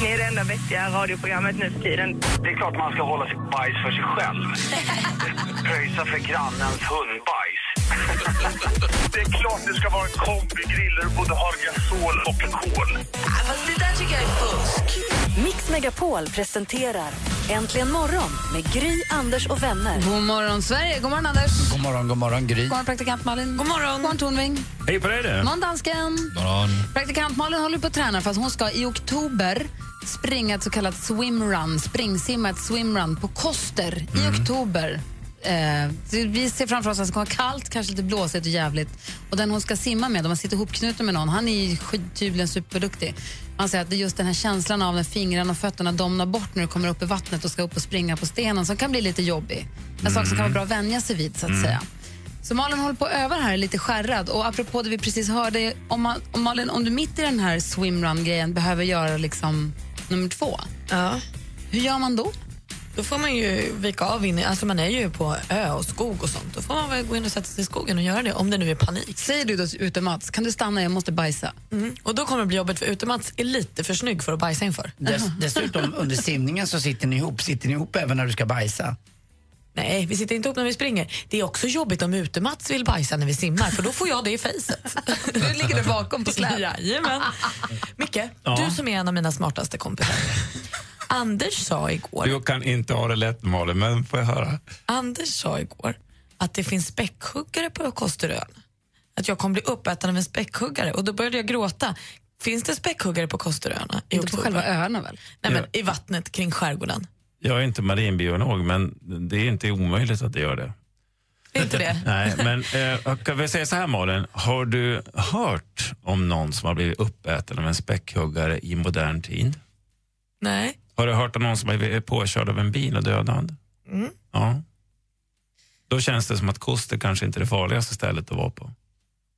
Det är det enda vettiga radioprogrammet nu för tiden. Det är klart man ska hålla sitt bajs för sig själv. Pröjsa för grannens hundbajs. det är klart det ska vara en kombigrill där du både har gasol och kol. Mix Megapol presenterar Äntligen morgon med Gry, Anders och vänner. God morgon, Sverige. God morgon, Anders. God morgon, god morgon Gry. God morgon, praktikant Malin. God morgon, god morgon Tornving. Hej på dig. God morgon, dansken. Praktikant Malin håller på att träna för att hon ska i oktober springa ett så kallat swimrun, springsimma ett swimrun på Koster i oktober. Eh, det- vi ser framför oss att det kommer vara kallt, kanske lite blåsigt och jävligt. Och den hon ska simma med, om man sitter ihopknuten med någon, han är ju skit- tydligen superduktig. Man säger att det är just den här känslan av när fingrarna och fötterna domnar bort när du kommer upp i vattnet och ska upp och springa på stenen som kan bli lite jobbig. En sak som kan vara bra att vänja sig vid så att säga. Så Malin håller på att öva här, är lite skärrad. Och apropå det vi precis hörde, om, man, om Malin, om du mitt i den här swimrun-grejen behöver göra liksom nummer två, Ja, hur gör man då? då får man ju vika av in, alltså man är ju på ö och skog och sånt. Då får man väl gå in och sätta sig i skogen och göra det om det nu är panik. Säger du då ute Mats, kan du stanna, jag måste bajsa? Mm. Och då kommer det bli jobbigt för utemats är lite för snygg för att bajsa inför. Dess, dessutom, under simningen så sitter ni ihop. Sitter ni ihop även när du ska bajsa? Nej, vi sitter inte upp när vi springer. Det är också jobbigt om utemats vill bajsa när vi simmar för då får jag det i fejset. Du ligger där bakom på släp. Jajamän. Micke, du som är en av mina smartaste kompisar. Anders sa igår Du kan inte ha det lätt Malin, men får jag höra? Anders sa igår att det finns späckhuggare på Kosterön. Att jag kommer bli uppäten av en späckhuggare och då började jag gråta. Finns det späckhuggare på Kosteröarna i Inte på oktober? själva öarna väl? Nej, men i vattnet kring skärgården. Jag är inte marinbiolog, men det är inte omöjligt att det gör det. Det är inte det? Nej, men eh, jag kan väl säga så här Malin, har du hört om någon som har blivit uppäten av en späckhuggare i modern tid? Nej. Har du hört om någon som har blivit påkörd av en bil och dödad? Mm. Ja. Då känns det som att Koster kanske inte är det farligaste stället att vara på.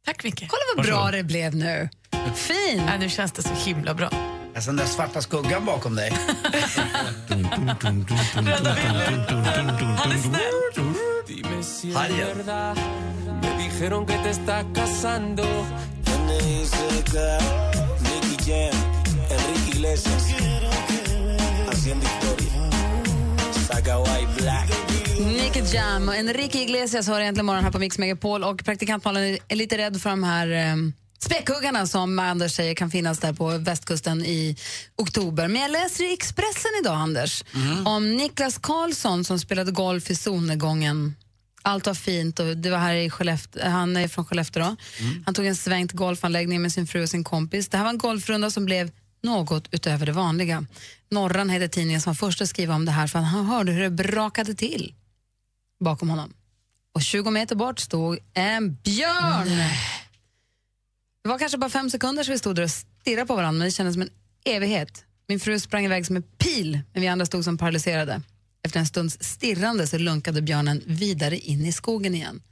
Tack Micke. Kolla vad bra det blev nu. Fin! Ja, nu känns det så himla bra. Alltså den där svarta skuggan bakom dig. Han är snäll. Hajen. Nicky Jam och Enrique Iglesias har egentligen morgon här på Mix Megapol och praktikantmalen är lite rädd för de här um, späckhuggarna som Anders säger kan finnas där på västkusten i oktober. Men jag läser i Expressen idag, Anders, om Niklas Karlsson som spelade golf i solnedgången. Allt var fint och det var här i Skellefteå. Han är från Skellefteå. Då. Han tog en sväng till golfanläggningen med sin fru och sin kompis. Det här var en golfrunda som blev något utöver det vanliga. Norran hette tidningen som var först att skriva om det här för han hörde hur det brakade till bakom honom. Och 20 meter bort stod en björn. Det var kanske bara fem sekunder så vi stod där och stirrade på varandra men det kändes som en evighet. Min fru sprang iväg som en pil men vi andra stod som paralyserade. Efter en stunds stirrande så lunkade björnen vidare in i skogen igen.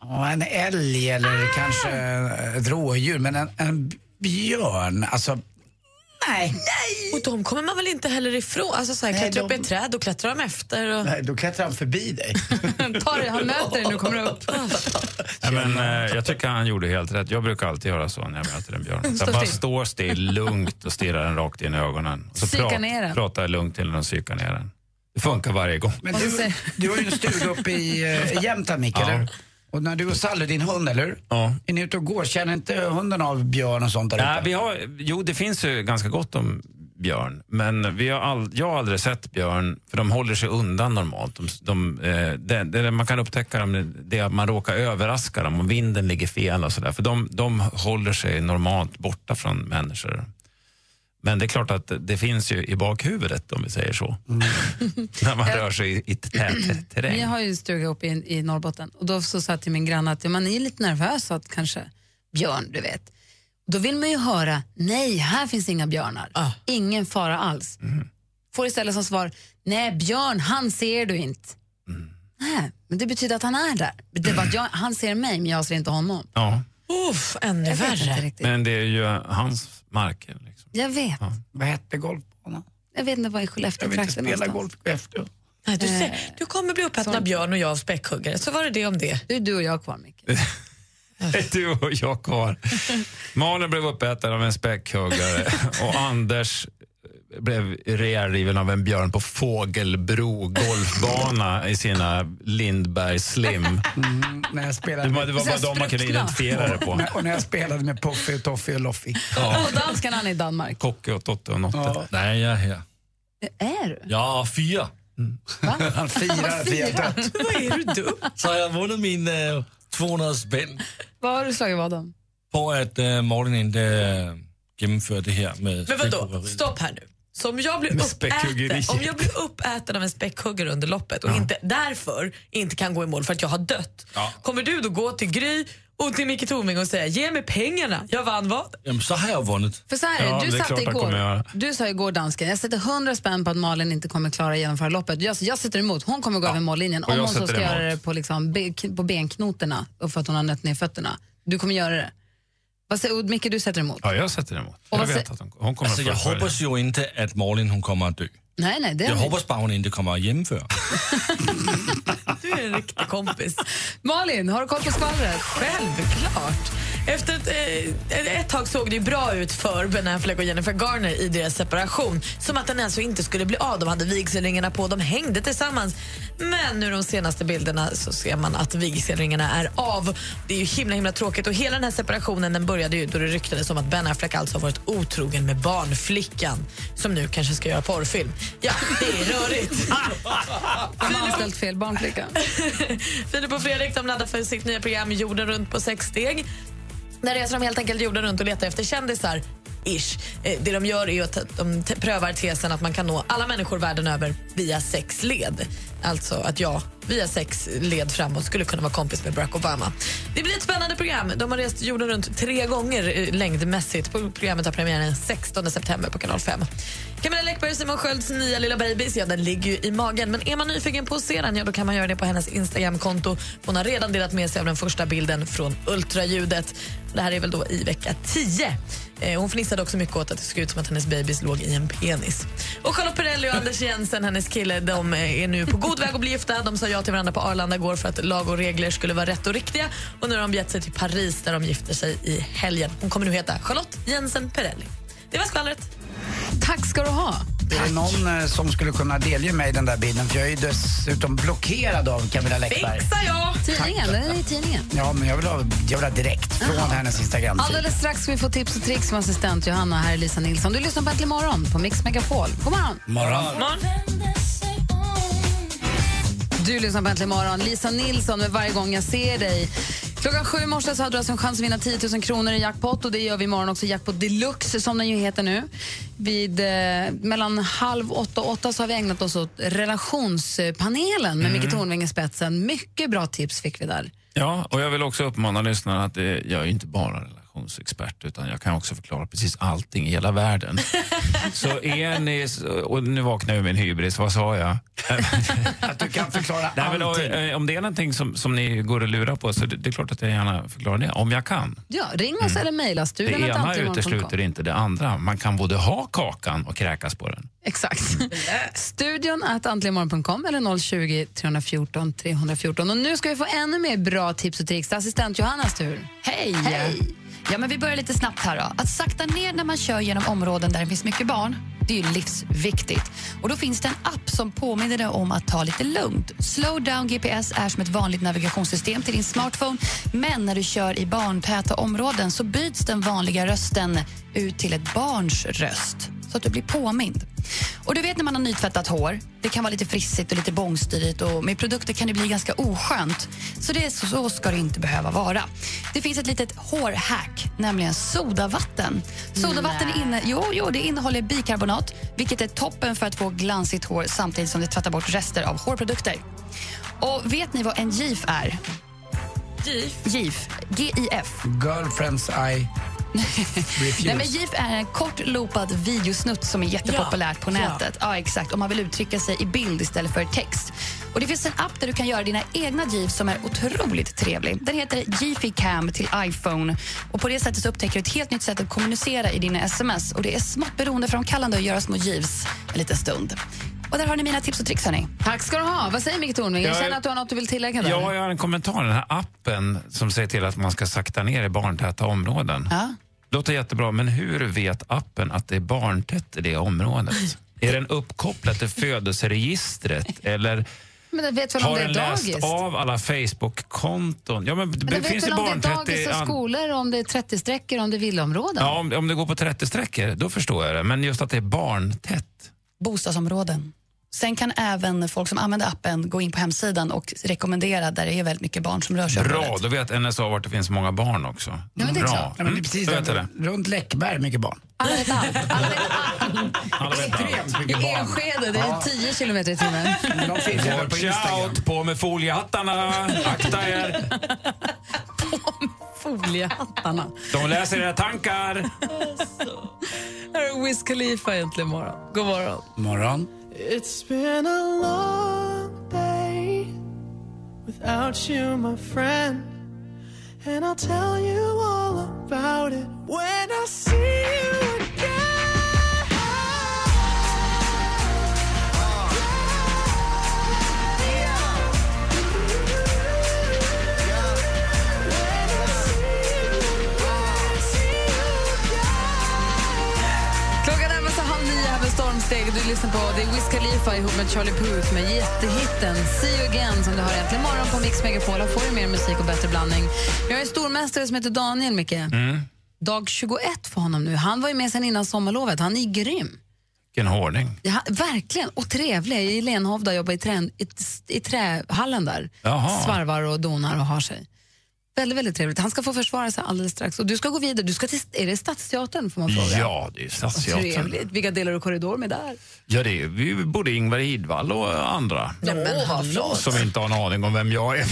Ja, en älg eller Ah! kanske eh, ett rådjur, men en, en björn. Alltså, nej. Och de kommer man väl inte heller ifrån? Alltså så här, Nej, klättra upp i de- ett träd och klättra dem efter. Och... nej. Då klättrar han förbi dig. Ta det, han möter dig nu kommer du upp. Nej, men, eh, jag tycker han gjorde helt rätt. Jag brukar alltid göra så när jag möter en björn. Så jag bara still. står still, lugnt och stirrar den rakt in i ögonen. Och så Psyka ner den. pratar jag lugnt till den och psykar ner den. Det funkar varje gång. Men Och så du, säger- du har ju en stuga uppe i eh, Jämtland, Micke, Ja. eller? Och när du och Sally, din hund, eller hur? Ja. Är ni ute och går? Känner inte hunden av björn och sånt där Nej, ute? vi har, jo, det finns ju ganska gott om björn. Men vi har all, jag har aldrig sett björn, för de håller sig undan normalt. De, de, eh, det, det man kan upptäcka dem det är att man råkar överraska dem och vinden ligger fel och sådär. För de, de håller sig normalt borta från människor. Men det är klart att det finns ju i bakhuvudet, om vi säger så. När man rör sig i, i tät terräng. Vi har ju en stuga uppe i, i Norrbotten och då så sa jag till min granne att ja, man är lite nervös att kanske björn, du vet. Då vill man ju höra, nej, här finns inga björnar. Ingen fara alls. får istället som svar, nej Björn, han ser du inte. Nej, men det betyder att han är där. Det var att jag, han ser mig, men jag ser inte honom. Ja, Uff, ännu Jag vet inte värre. riktigt. men det är ju hans marker. Liksom. Jag vet. Vad hette golfbanan? Jag vet inte vad i Jag vill inte Skellefteå-trakten spela någonstans. golf efter. Mm, Nej, du, Eh, ser, du kommer bli uppäten av björn och jag av späckhuggare. Så var det det om det. Det är du och jag kvar, Micke. Du och jag kvar. Malin blev uppäten av en späckhuggare och Anders blev reariven av en björn på Fågelbro golfbana i sina Lindberg Slim. Mm, när jag Det spelade var, det med, var bara de man kunde identifiera det på. och när jag spelade med Puffy, Toffy och Loffi. Ja. Och danskarna han är i Danmark. Kocke och Totte och Notte. Ja. Nej, ja, ja. Det är du. Ja, fyra. Han firar att vi har dött. Vad är du dum? Så har jag vunnit min eh, 200 spänn Vad har du slagit vad om? på att eh, Malin inte eh, genomför det här med Men vadå, späckhuggeriet. stopp här nu. Så om jag blir Med späckhuggeriet. uppäten, om jag blir uppäten av en späckhuggare under loppet och inte, därför inte kan gå i mål för att jag har dött. Kommer du då gå till Gry och till Micke Tornving och säga ge mig pengarna, jag vann vad? Jamen, så har jag vunnit. För så här är Ja, det, du det är satte klart han kommer igår, göra. du sa igår dansken, jag sätter 100 spänn på att Malin inte kommer klara att genomföra loppet. Jag, jag sätter emot, hon kommer gå över mållinjen. och Om jag hon så sätter ska göra emot. det på, liksom, be, på benknotorna och för att hon har nött ner fötterna. Du kommer göra det. Vad säger och Micke, du sätter emot? ja, jag sätter emot. Och Jag vad vet sä- att hon, hon kommer Alltså, jag fullfölja. hoppas ju inte att Malin hon kommer att dö. Nej, nej, det Jag är hoppas bara hon inte kommer att genomföra. Du är en riktig kompis. Malin, har du koll på skvallret? Självklart. Efter ett, eh, ett tag såg det ju bra ut för Ben Affleck och Jennifer Garner i deras separation. Som att den alltså inte skulle bli av. De hade vigselringarna på, de hängde tillsammans. Men nu de senaste bilderna så ser man att vigselringarna är av. Det är ju himla himla tråkigt. Och hela den här separationen den började ju då det ryktades om att Ben Affleck alltså har varit otrogen med barnflickan som nu kanske ska göra porrfilm. Ja, det är rörigt. De har anställt fel barnflicka. Filip och Fredrik de laddar för sitt nya program Jorden runt på sex steg. Där reser de helt enkelt jorden runt och letar efter kändisar. Ish. Eh, Det de gör är ju att de te- prövar tesen att man kan nå alla människor världen över via sex led. Alltså att jag via sex led framåt skulle kunna vara kompis med Barack Obama. Det blir ett spännande program. De har rest jorden runt tre gånger eh, längdmässigt. Pro- Programmet har premiär den 16 september på kanal 5. Camilla Läckberg och Simon Skölds nya lilla babys, ja den ligger ju i magen. Men är man nyfiken på att se den, ja då kan man göra det på hennes Instagramkonto. Hon har redan delat med sig av den första bilden från ultraljudet. Det här är väl då i vecka 10. Eh, Hon fnissade också mycket åt att det såg ut som att hennes babys låg i en penis. Och Charlotte Perrelli och Anders Jensen, hennes kille, de eh, är nu på god väg att bli gifta. De sa ja till varandra på Arlanda igår för att lag och regler skulle vara rätt och riktiga. Och nu har de begett sig till Paris där de gifter sig i helgen. Hon kommer nu heta Charlotte Jensen Perrelli. Det var skvallret. Tack ska du ha. Är det någon eh, som skulle kunna delge mig den där bilden? För jag är ju dessutom blockerad av Camilla Läckberg. Fixar jag! Tidningen, den är i tidningen. Ja, men jag vill ha, jag vill ha direkt från hennes Instagram. Alldeles strax ska vi få tips och tricks med assistent Johanna. Här är Lisa Nilsson. Du lyssnar på Äntligen morgon på Mix Megapol. God morgon! Morgon. Du lyssnar på Äntligen morgon. Lisa Nilsson med Varje gång jag ser dig. Klockan sju i morse så hade du alltså en chans att vinna 10 000 kronor i jackpot och det gör vi imorgon också. Jackpot deluxe som den ju heter nu. Vid eh, mellan halv åtta och åtta så har vi ägnat oss åt relationspanelen Mm. med Micke Tornving i spetsen. Mycket bra tips fick vi där. Ja, och jag vill också uppmana lyssnarna att eh, jag är inte bara relationsexpert utan jag kan också förklara precis allting i hela världen. Så är ni, och nu vaknar jag med min hybris, vad sa jag? Att du kan förklara Nej, men, allting. eh, eh, om det är någonting som, som ni går och lurar på så det, det är klart att jag gärna förklarar det, om jag kan. Ja, ring oss eller mejla Mm. Det studion. att ena antingen någon som kom. utesluter inte det andra. Man kan både ha kakan och kräkas på den. Exakt. Studion at antligenmorgon.com eller 020 314 314. Och nu ska vi få ännu mer bra tips och tricks. Det är assistent Johannas tur. Hej! Ja, men vi börjar lite snabbt här då. Att sakta ner när man kör genom områden där det finns mycket barn, det är ju livsviktigt. Och då finns det en app som påminner dig om att ta lite lugnt. Slowdown GPS är som ett vanligt navigationssystem till din smartphone, men när du kör i barntäta områden så byts den vanliga rösten ut till ett barns röst så att du blir påmind. Och du vet när man har nytvättat hår, det kan vara lite frissigt och lite bångstyrigt och med produkter kan det bli ganska oskönt. Så det är så, så ska det inte behöva vara. Det finns ett litet hårhack, nämligen sodavatten. Sodavatten inne, jo, jo, det innehåller bikarbonat, vilket är toppen för att få glansigt hår samtidigt som det tvättar bort rester av hårprodukter. Och vet ni vad en Typ GIF är? GIF? GIF. Girlfriends eye Nej, men GIF är en kort loopad videosnutt som är jättepopulärt på Ja, ja. nätet. Ja, exakt. Om man vill uttrycka sig i bild istället för text. Och Det finns en app där du kan göra dina egna GIF som är otroligt trevlig. Den heter Giphy Cam till iPhone. Och På det sättet så upptäcker du ett helt nytt sätt att kommunicera i dina sms. Och Det är smått beroendeframkallande att göra små GIFs en liten stund. Och Där har ni mina tips och tricks. Hörni. Tack ska du ha. Vad säger Micke Tornving? Jag Jag- känner att du har något du vill tillägga där. Ja, jag har en kommentar. Den här appen som säger till att man ska sakta ner i barntäta områden. Ja. Låter jättebra, men hur vet appen att det är barntätt i det området? Är den uppkopplad till födelseregistret eller Men jag vet väl om har det är den läst dagis? av alla Facebook-konton? Ja, men det Men jag vet finns väl ju om det är barntätt i dagis och an- skolor, om det är 30-streckor, om det är villaområden? Ja, om, om det går på 30 sträckor då förstår jag det. Men just att det är barntätt. bostadsområden. Sen kan även folk som använder appen gå in på hemsidan och rekommendera där det är väldigt mycket barn som rör sig. i Bra, området. då vet NSA vart det finns många barn också. Ja, men det är Bra. klart. Ja, men det är precis Då vet jag det. Runt Läckberg, mycket barn. Alla vet allt. Alla vet allt. Alla vet allt. I Enskede, det är 10 kilometer i timmen. Watch out, på med foliehattarna, akta er. Foliehattarna. De läser era tankar. Här är Wiz Khalifa egentligen imorgon. God morgon. Morgon. It's been a long day without you, my friend. And I'll tell you all about it when I see you again. Klockan närmar sig halv nio här med stormsteg. Du lyssnar på det är Wiz Khalifa ihop med Charlie Puth med jättehitten See you again som du hör äntligen morgon på Mix Megapol. Här får du mer musik och bättre blandning. Vi har en stormästare som heter Daniel, Micke. Mm. Dag 21 för honom nu. Han var ju med sen innan sommarlovet. Han är grym. Vilken hårding. Ja, verkligen, och trevlig. I Lenhovda jobbar i, trän, i, i trähallen där. Jaha. Svarvar och donar och har sig. Väldigt, väldigt trevligt. Han ska få försvara sig alldeles strax. Och du ska gå vidare. Du ska till, är det Stadsteatern får man fråga? Ja, det är ju Stadsteatern. Trevligt. Vilka delar du korridor med där? Ja, det är ju både Ingvar Hidvall och andra. Nej, men Åh, vad hallå. flott. som inte har en aning om vem jag är.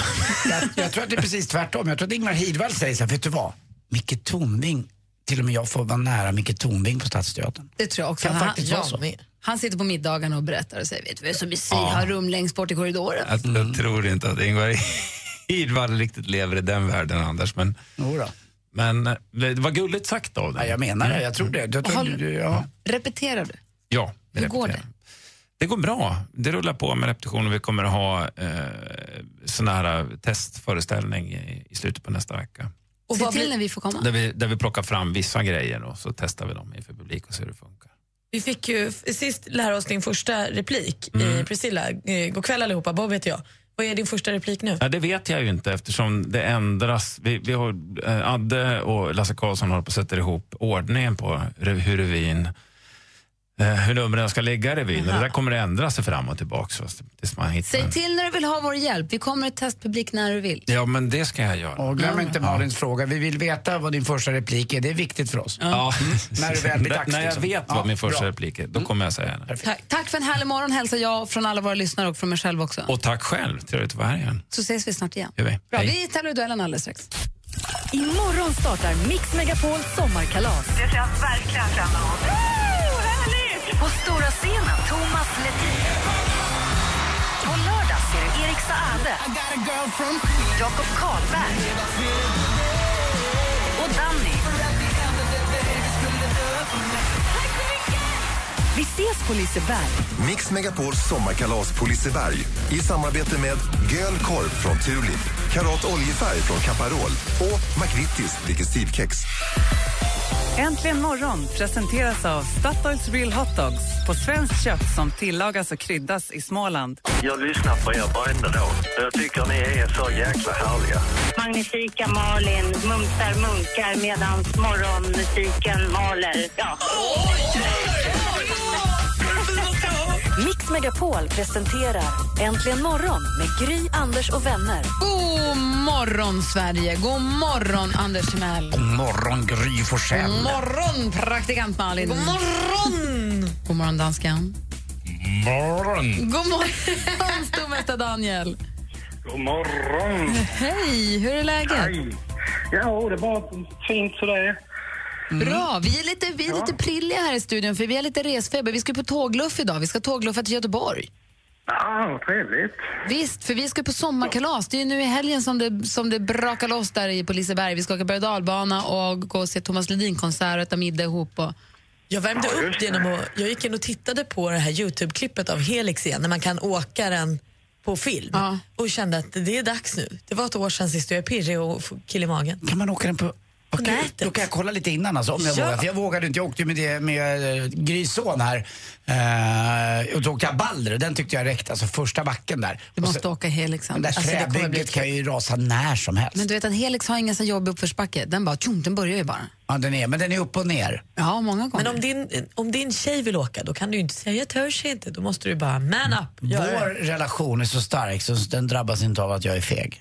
Jag tror att det är precis tvärtom. Jag tror att Ingvar Hidvall säger så här, vet du vad? Micke Tornving, till och med jag får vara nära Micke Tornving på Stadsteatern. Det tror jag också. Kan han, faktiskt vara så. han, han sitter på middagarna och berättar och säger vet du vem som i sig Ja. har rum längst bort i korridoren? Jag, jag tror inte att Ingvar Hidvall riktigt lever i den världen, Anders. Men, men eh, det var gulligt sagt av dig. Ja, jag menar det. Jag tror det. Jag tror, ja. Repeterar du? Ja, Hur går det? Det går bra. Det rullar på med repetitioner. Vi kommer att ha eh, sån här eh, testföreställning i, i slutet på nästa vecka. Och Se till när vi får komma. Där vi, där vi plockar fram vissa grejer och så testar vi dem inför publik och ser hur det funkar. Vi fick ju f- sist lära oss din första replik, Mm. eh, Priscilla. Eh, god kväll allihopa, Bob heter jag. Vad är din första replik nu? Ja, det vet jag ju inte eftersom det ändras. Vi, vi har, eh, Adde och Lasse Karlsson håller på att sätta ihop ordningen på re- hur revyn eh, hur numren ska ligga i revyn. Och Det där kommer att ändra sig fram och tillbaka tills man hittar Säg en- till när du vill ha vår hjälp. Vi kommer ett testpublik när du vill. Ja, men det ska jag göra. Och glöm inte Malins fråga. Vi vill veta vad din första replik är. Det är viktigt för oss. Ja. När det väl blir dags. När jag liksom. vet vad Ja, min första bra. Mm. replik är, då kommer jag säga den. Tack. Tack för en härlig morgon hälsar jag från alla våra lyssnare och från mig själv också. Och tack själv, trevligt att vara här igen. Så ses vi snart igen. Gör vi. Bra, Hej. vi tävlar i duellen alldeles strax. Imorgon startar Mix Megapols sommarkalas. Det ser jag verkligen fram emot. Woo, härligt! På stora scenen Thomas Ledin. På lördag ser du Erik Saade. Jakob Karlberg. Och Danny. Vi ses på Liseberg. Mix Megapols sommarkalas på Liseberg i samarbete med Göl korv från Tulip, Karat oljefärg från Caparol och McVittys digestivkex. Äntligen morgon presenteras av Statoils Real Hot Dogs på svenskt kött som tillagas och kryddas i Småland. Jag lyssnar på er varenda dag. Jag tycker ni är så jäkla härliga. Magnifika Malin mumsar munkar medan morgonmusiken maler. Ja. Mix Megapol presenterar Äntligen morgon med Gry, Anders och vänner. God morgon, Sverige. God morgon, Anders Timell. God morgon, Gry Forssell. God morgon, praktikant Malin. God morgon! God morgon, danskan. Morgon! God morgon, stormästare Daniel. God morgon! Hej, hur är läget? Hej! Ja, det var fint sådär. Mm. Bra, vi är, lite, vi är lite prilliga här i studion för vi har lite resfeber. Vi ska på tågluff idag, vi ska tågluffa till Göteborg. Ja, vad trevligt. Visst, för vi ska på sommarkalas. Det är ju nu i helgen som det, som det brakar loss där i- på Liseberg. Vi ska åka berg och dalbana och gå och se Thomas Ledin-konsert och äta middag ihop. Och... Jag värmde upp genom att, jag gick in och tittade på det här Youtube-klippet av Helix igen, när man kan åka den på film. Och kände att det är dags nu. Det var ett år sedan sist och jag är pirrig och får kill i magen. Kan man åka den på Okej, då kan jag kolla lite innan alltså, om jag Ja. vågar. För jag vågade inte. Jag åkte ju med, det, med eh, Grys son här. Uh, och då åkte jag Balder och den tyckte jag räckte. Alltså första backen där. Du Och måste så, åka Helix. det där Alltså, det kommer träbygget bli- kan ju rasa när som helst. Men du vet att Helix har ingen så jobbig uppförsbacke. Den bara tjong, den börjar ju bara. Ja, den är, men den är upp och ner. Ja, många gånger. Men om din, om din tjej vill åka, då kan du ju inte säga jag törs inte. Då måste du bara man up. gör det. Vår relation är så stark så den drabbas inte av att jag är feg.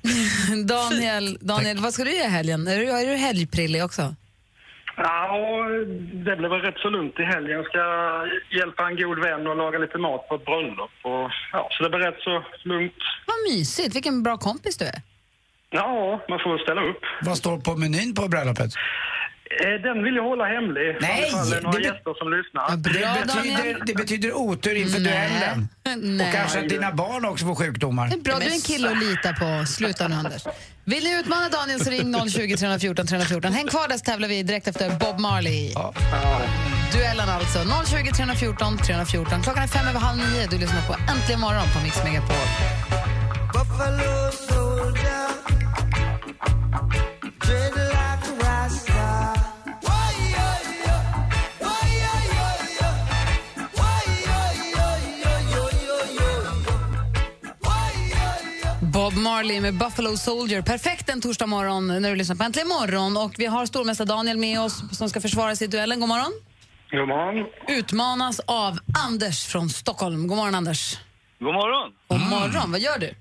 Daniel, Daniel vad ska du göra i helgen? Är du, är du helgprillig också? Ja, och det blev väl rätt så lugnt i helgen. Jag ska hjälpa en god vän och laga lite mat på ett bröllop. Och, ja, så det blev rätt så lugnt. Vad mysigt, vilken bra kompis du är. Ja, man får ställa upp. Vad står på menyn på bröllopet? Eh, Den vill jag hålla hemlig. Nej, Ifall det är några det be- gäster som lyssnar. det, betyder, det betyder otur inför duellen. Nej. Och kanske att dina barn också får sjukdomar. Det är bra, du är en kille att lita på. Sluta nu, Anders. Vill ni utmana Daniel så ring 020 314 314. Häng kvar där så tävlar vi direkt efter Bob Marley. Duellen alltså. 020 314 314. Klockan är fem över halv nio. Du lyssnar på Äntligen morgon på Mix Megapol. Buffalo soldier, tread like a rasta. Bob Marley med Buffalo Soldier. Perfekt en torsdag morgon när du lyssnar på Äntligen morgon. Och vi har stormästare Daniel med oss som ska försvara sig i duellen. God morgon. God morgon. Utmanas av Anders från Stockholm. God morgon, Anders. God morgon. God morgon. Vad gör du?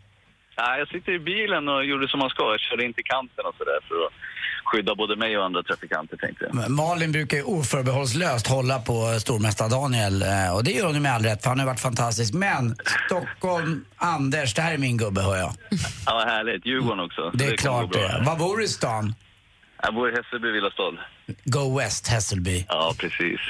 Ja, jag sitter i bilen och gjorde som man ska. Jag körde in till kanten och sådär för att skydda både mig och andra trafikanter tänkte jag. Malin brukar ju oförbehållslöst hålla på stormästare Daniel eh, och det gör hon ju med all rätt för han har ju varit fantastisk. Men Stockholm, Anders, det här är min gubbe hör jag. Ja, vad härligt. Djurgården också. Det är kommer klart gå det bra. är. Var bor du i stan? Jag bor i Hässelby, Villastad. Go West, Hässelby. Ja, precis.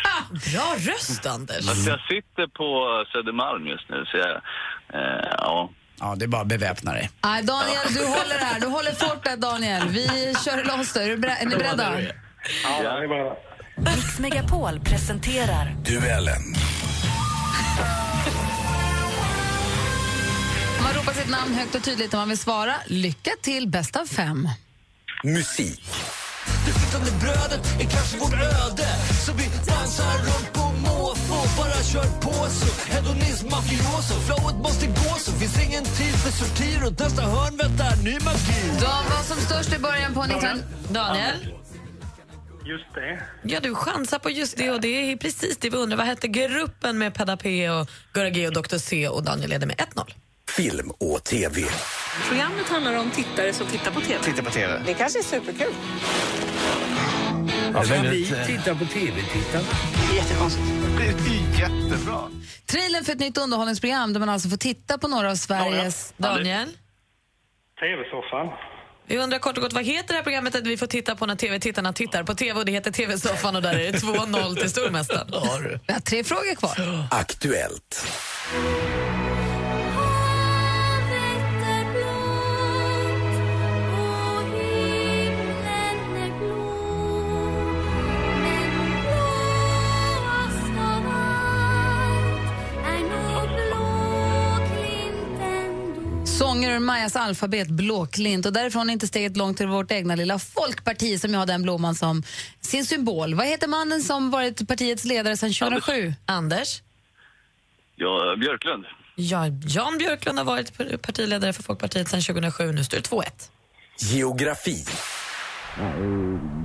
Bra röst, Anders. Fast jag sitter på Södermalm just nu så jag... Eh, ja. Ja, det är bara att beväpna dig. Nej, Daniel, du håller här. Du håller fortet, Daniel. Vi kör loss. Är, du berä- är ni beredda? Ja, det är bara... Mix Megapol presenterar Duellen. Man ropar sitt namn högt och tydligt om man vill svara. Lycka till, bäst av fem. Musik. Det flytande brödet är kanske vårt öde Så vi dansar runt på måfå Bara kör på så Hedonism mafioso Flowet måste gå så Finns ingen tid för sortir Och nästa hörn väntar ny De magi var som störst i början på 19... Daniel? Just det. Ja, du chansar på just det och det är precis det vi undrar. Vad hette gruppen med Pedda P och Gurra G och Dr C och Daniel leder med 1-0? Film och TV. Programmet handlar om tittare som tittar på TV. Titta på TV. Det kanske är superkul. Ja, väldigt, eh, Titta på TV-tittare. Jättekonstigt. Det är jättebra. Trailern för ett nytt underhållningsprogram där man alltså får titta på några av Sveriges... Daniel? TV-soffan. Vi undrar kort och gott, vad heter det här programmet att vi får titta på när TV-tittarna tittar på TV? Och det heter TV-soffan och där är det 2-0 till stormästaren. Vi har tre frågor kvar. Aktuellt. Sånger ur Majas alfabet, Blåklint. Och därifrån är inte steget långt till vårt egna lilla folkparti som ju har den blomman som sin symbol. Vad heter mannen som varit partiets ledare sedan 2007? Anders? Ja, Björklund. Ja, Jan Björklund har varit par- partiledare för Folkpartiet sedan 2007. Nu står det 2-1. Geografi. Ma, eh,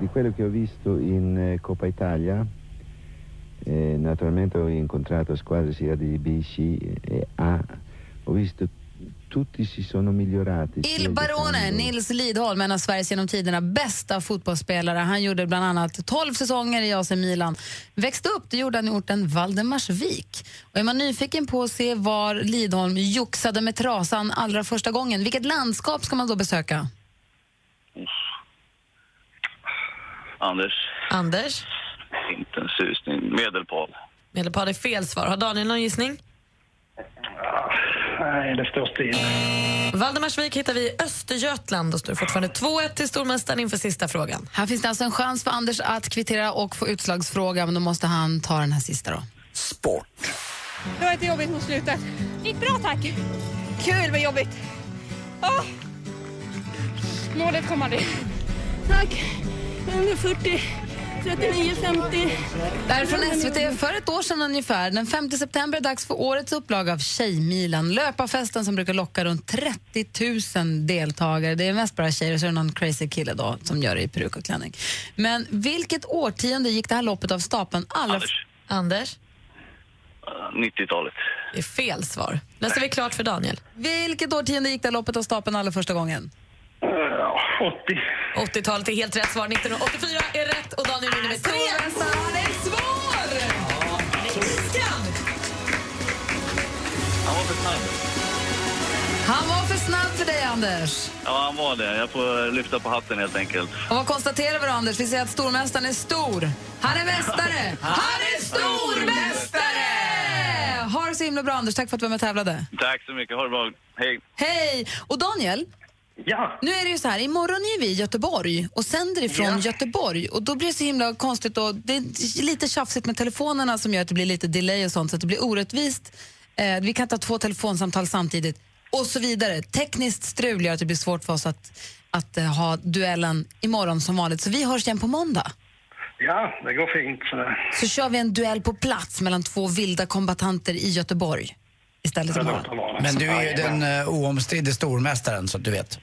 di quello che ho visto in eh, Coppa Italia, eh, naturalmente ho incontrato squadre sia di B, C e A, ho visto tutti si sono migliorati. sia Il Barone, Nils Lidholm, en av Sveriges genom tiderna bästa fotbollsspelare. Han gjorde bland annat 12 säsonger i AC Milan. Växte upp det gjorde han i orten Valdemarsvik. Och är man nyfiken på att se var Lidholm joxade med trasan allra första gången, vilket landskap ska man då besöka? Anders. Anders? inte en susning. Medelpad. Medelpad är fel svar. Har Daniel någon gissning? Nej, det står still. Valdemarsvik hittar vi i Östergötland och står fortfarande 2-1 till stormästaren inför sista frågan. Här finns det alltså en chans för Anders att kvittera och få utslagsfråga, men då måste han ta den här sista då. Sport. Det var lite jobbigt mot slutet. Gick bra tack. Kul men jobbigt. Åh! Målet kom aldrig. Tack. 140, 39, 50. Det här är från SVT för ett år sedan ungefär. Den 5 september är det dags för årets upplaga av Tjejmilen. Löparfesten som brukar locka runt 30 000 deltagare. Det är mest bara tjejer och så är det någon crazy kille då som gör det i peruk och klänning. Men vilket årtionde gick det här loppet av stapeln allra... Anders. Anders? Eh, 90-talet. Det är fel svar. Läser vi klart för Daniel. Vilket årtionde gick det här loppet av stapeln allra första gången? Eh, 80. 80-talet är helt rätt svar. 1984 är rätt och Daniel vinner med 3 Han var för snabb. Han var för snabb för dig, Anders. Ja, han var det. Jag får lyfta på hatten helt enkelt. Och vad konstaterar vi då, Anders? Vi säger att stormästaren är stor. Han är mästare! Han är stormästare! Ha det så himla bra, Anders. Tack för att du var med och tävlade. Tack så mycket. Ha det bra. Hej. Hej! Och Daniel? Ja. Nu är det ju så här, imorgon är vi i Göteborg och sänder ifrån Ja. Göteborg och då blir det så himla konstigt och det är lite tjafsigt med telefonerna som gör att det blir lite delay och sånt så att det blir orättvist. Eh, vi kan inte ha två telefonsamtal samtidigt och så vidare. Tekniskt strul gör att det blir svårt för oss att, att eh, ha duellen imorgon som vanligt så vi hörs igen på måndag. Ja, det går fint. Så. Så kör vi en duell på plats mellan två vilda kombatanter i Göteborg istället för imorgon. Men du är ju den eh, oomstridde stormästaren, så att du vet.